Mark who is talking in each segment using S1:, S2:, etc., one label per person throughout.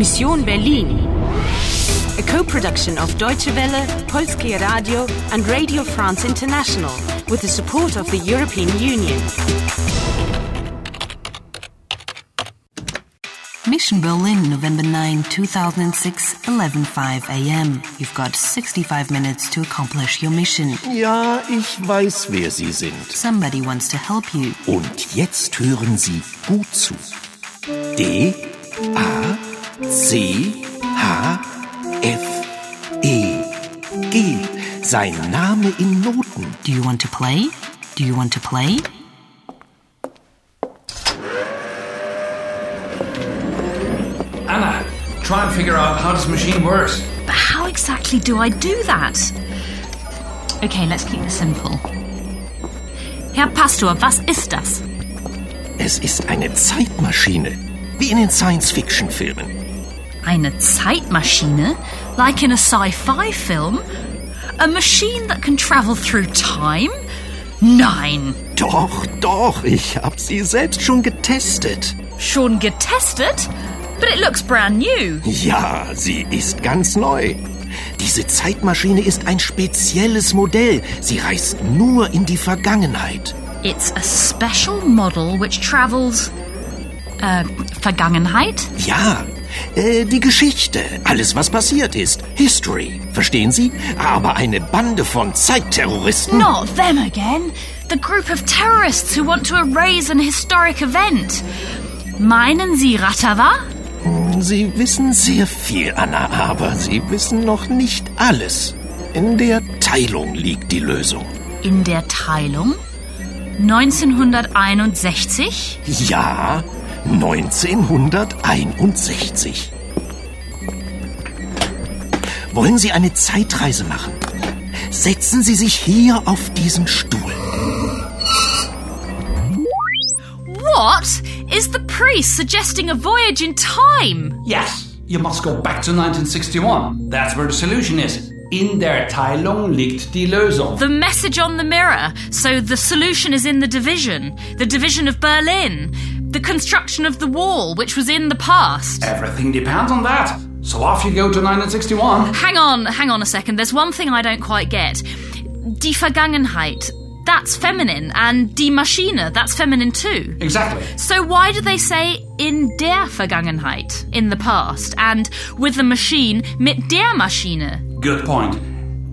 S1: Mission Berlin. A co-production of Deutsche Welle, Polskie Radio and Radio France International with the support of the European Union.
S2: Mission Berlin, November 9, 2006, 11.05 a.m. You've got 65 minutes to accomplish your mission.
S3: Ja, ich weiß, wer Sie sind.
S2: Somebody wants to help you.
S3: Und jetzt hören Sie gut zu. D A C H F E G. Sein Name in Noten.
S2: Do you want to play? Do you want to play?
S4: Anna, try and figure out how this machine works.
S5: But how exactly do I do that? Okay, let's keep this simple. Herr Pastor, was ist das?
S3: Es ist eine Zeitmaschine. Wie in den Science-Fiction-Filmen.
S5: Eine Zeitmaschine? Like in a sci fi film? A machine that can travel through time? Nein!
S3: Doch, doch, ich hab sie selbst schon getestet.
S5: Schon getestet? But it looks brand new.
S3: Ja, sie ist ganz neu. Diese Zeitmaschine ist ein spezielles Modell. Sie reist nur in die Vergangenheit.
S5: It's a special model which travels. Uh, Vergangenheit?
S3: Ja, äh, die Geschichte, alles was passiert ist, History, verstehen Sie? Aber eine Bande von Zeitterroristen.
S5: Not them again. The group of terrorists who want to erase an historic event. Meinen Sie Ratava?
S3: Sie wissen sehr viel, Anna, aber Sie wissen noch nicht alles. In der Teilung liegt die Lösung.
S5: In der Teilung? 1961?
S3: Ja, 1961. Wollen Sie eine Zeitreise machen? Setzen Sie sich hier auf diesen Stuhl.
S5: What? Is the priest suggesting a voyage in time?
S4: Yes, you must go back to 1961. That's where the solution is. In der Teilung liegt die Lösung.
S5: The message on the mirror. So the solution is in the division. The division of Berlin. The construction of the wall, which was in the past.
S4: Everything depends on that. So off you go to 1961.
S5: Hang on, hang on a second. There's one thing I don't quite get. Die Vergangenheit. That's feminine. And die Maschine. That's feminine too.
S4: Exactly.
S5: So why do they say in der Vergangenheit, in the past, and with the machine, mit der Maschine?
S4: Good point.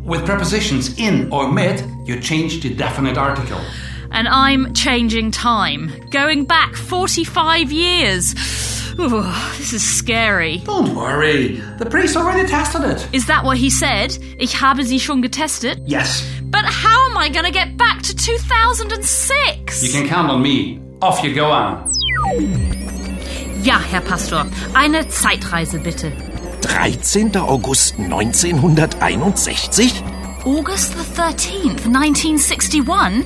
S4: With prepositions in or mit, you change the definite article.
S5: And I'm changing time, going back 45 years. Ooh, this is scary.
S4: Don't worry, the priest already tested it.
S5: Is that what he said? Ich habe sie schon getestet.
S4: Yes,
S5: But how am I going to get back to 2006?
S4: you can count on me. Off you go, Anna.
S5: Ja, Herr Pastor, eine Zeitreise bitte.
S3: 13. August 1961?
S5: August the 13th, 1961?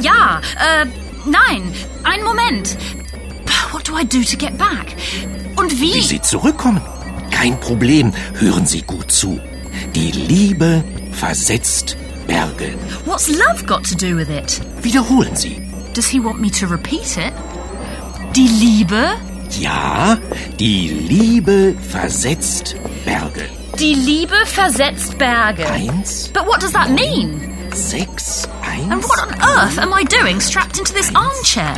S5: Ja, äh, nein, ein Moment. What do I do to get back? Und wie?
S3: Wie Sie zurückkommen? Kein Problem, hören Sie gut zu. Die Liebe versetzt Berge.
S5: What's love got to do with it?
S3: Wiederholen Sie.
S5: Does he want me to repeat it? Die Liebe?
S3: Ja, die Liebe versetzt Berge.
S5: Die Liebe versetzt Berge.
S3: Eins,
S5: But what does that mean?
S3: sechs, eins.
S5: And what on earth am I doing strapped into this armchair?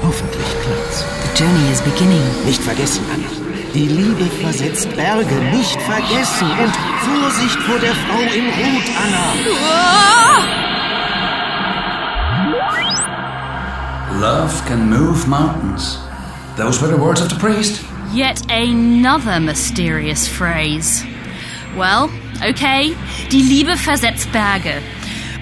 S3: Hoffentlich klappt's.
S2: The journey is beginning.
S3: Nicht vergessen, Anna. Die Liebe versetzt Berge. Nicht vergessen. Und Vorsicht vor der Frau im Rot, Anna.
S5: Ah!
S4: Love can move mountains. Those were the words of the priest.
S5: Yet another mysterious phrase. Well, okay, die Liebe versetzt Berge.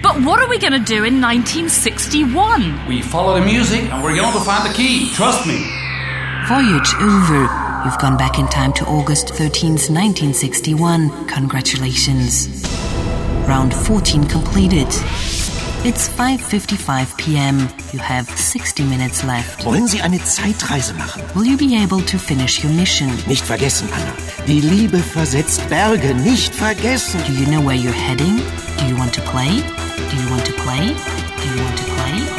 S5: But what are we going to do in 1961?
S4: We follow the music and we're going to find the key. Trust me.
S2: Voyage over. You've gone back in time to August 13th, 1961. Congratulations. Round 14 completed. It's 5:55 p.m. You have 60 minutes left.
S3: Wollen Sie eine Zeitreise machen?
S2: Will you be able to finish your mission?
S3: Nicht vergessen, Anna. Die Liebe versetzt Berge. Nicht vergessen.
S2: Do you know where you're heading? Do you want to play? Do you want to play? Do you want to play?